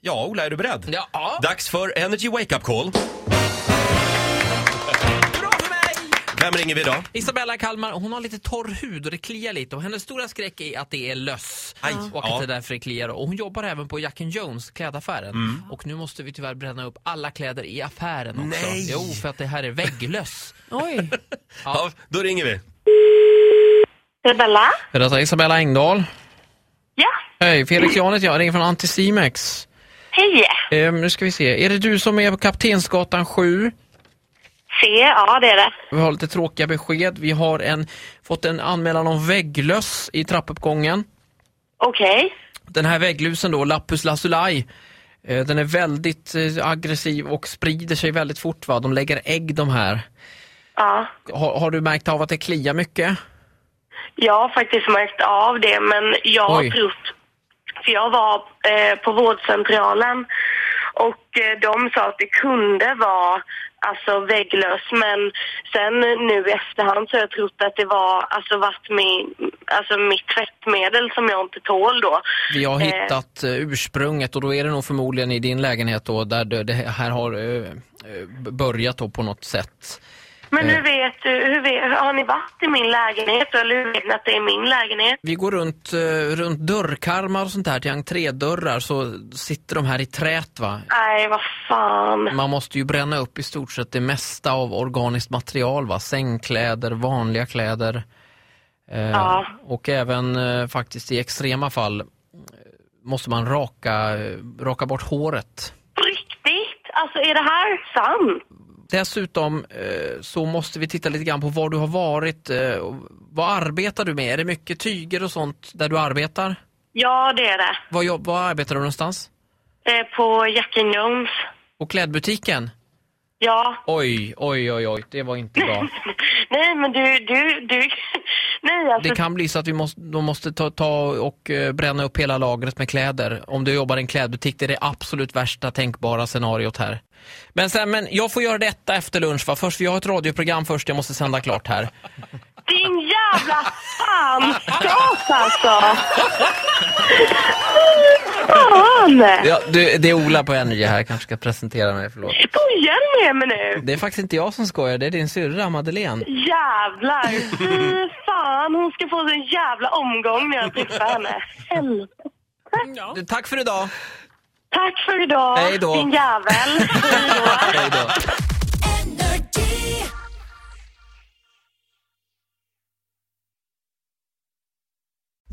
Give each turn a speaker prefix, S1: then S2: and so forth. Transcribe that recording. S1: Ja, Ola, är du beredd?
S2: Ja. Ja.
S1: Dags för Energy Wake Up Call.
S2: Bra för mig!
S1: Vem ringer vi idag?
S2: Isabella i Kalmar, hon har lite torr hud och det kliar lite och hennes stora skräck är att det är löss
S1: Aj,
S2: och att
S1: ja.
S2: det är därför det kliar. Och hon jobbar även på Jack and Jones, klädaffären. Och nu måste vi tyvärr bränna upp alla kläder i affären också.
S1: Nej.
S2: Jo, för att det här är vägglöss.
S3: Oj.
S1: Ja, då ringer vi.
S4: Isabella?
S2: Detta är alltså, Isabella Engdahl.
S4: Ja,
S2: Hej, Felix Janet jag ringer från Anticimex.
S4: hej!
S2: Ehm, nu ska vi se, är det du som är på Kaptensgatan 7?
S4: Se, ja det är det.
S2: Vi har lite tråkiga besked. Vi har en, fått en anmälan om vägglöss i trappuppgången.
S4: Okej.
S2: Den här vägglusen då, Lappus lazuli, eh, den är väldigt eh, aggressiv och sprider sig väldigt fort. Va? De lägger ägg de här.
S4: Ja.
S2: Har, har du märkt av att det kliar mycket?
S4: Jag har faktiskt märkt av det, men jag har
S2: Oj.
S4: trott... För jag var eh, på vårdcentralen och eh, de sa att det kunde vara alltså vägglös, men sen nu i efterhand så har jag trott att det var alltså, varit min, alltså mitt tvättmedel som jag inte tål då.
S2: Vi har
S4: Eh.
S2: hittat eh, ursprunget och då är det nog förmodligen i din lägenhet då där det det här har eh, eh, börjat då på något sätt.
S4: Men
S2: Eh.
S4: hur vet du, hur vet, har ni varit i min lägenhet eller hur vet ni att det är min lägenhet?
S2: Vi går runt, eh, runt dörrkarmar och sånt där till entrédörrar så sitter de här i trät va.
S4: Nej, vad fan.
S2: Man måste ju bränna upp i stort sett det mesta av organiskt material. Va? Sängkläder, vanliga kläder eh,
S4: Ja.
S2: och även eh, faktiskt i extrema fall eh, måste man raka, eh, raka bort håret.
S4: På riktigt? Alltså är det här sant?
S2: Dessutom eh, så måste vi titta lite grann på var du har varit. Eh, och vad arbetar du med? Är det mycket tyger och sånt där du arbetar?
S4: Ja, det är det.
S2: Vad, jobb, vad arbetar du någonstans?
S4: Eh, på Jack and Jones.
S2: Och klädbutiken?
S4: Ja.
S2: Oj, oj, oj, oj, det var inte bra.
S4: Nej, men du, du, du. Nej, alltså.
S2: Det kan bli så att vi måste, de måste ta, ta och eh, bränna upp hela lagret med kläder. Om du jobbar i en klädbutik, det är det absolut värsta tänkbara scenariot här. Men, sen, men jag får göra detta efter lunch va? Först, vi har ett radioprogram först, jag måste sända klart här.
S4: Din jävla fan! Stas alltså! Fan!
S2: Ja, du, det är Ola på Energy här, jag kanske ska presentera mig, förlåt.
S4: Skojar med mig nu?
S2: Det är faktiskt inte jag som skojar, det är din syrra Madeleine.
S4: Jävlar! Fy fan, hon ska få en jävla omgång när jag träffar henne. Helvete.
S2: Du, Tack för idag!
S4: Tack för idag,
S2: Hej då.
S4: din jävel. Hej då.
S2: Hej då.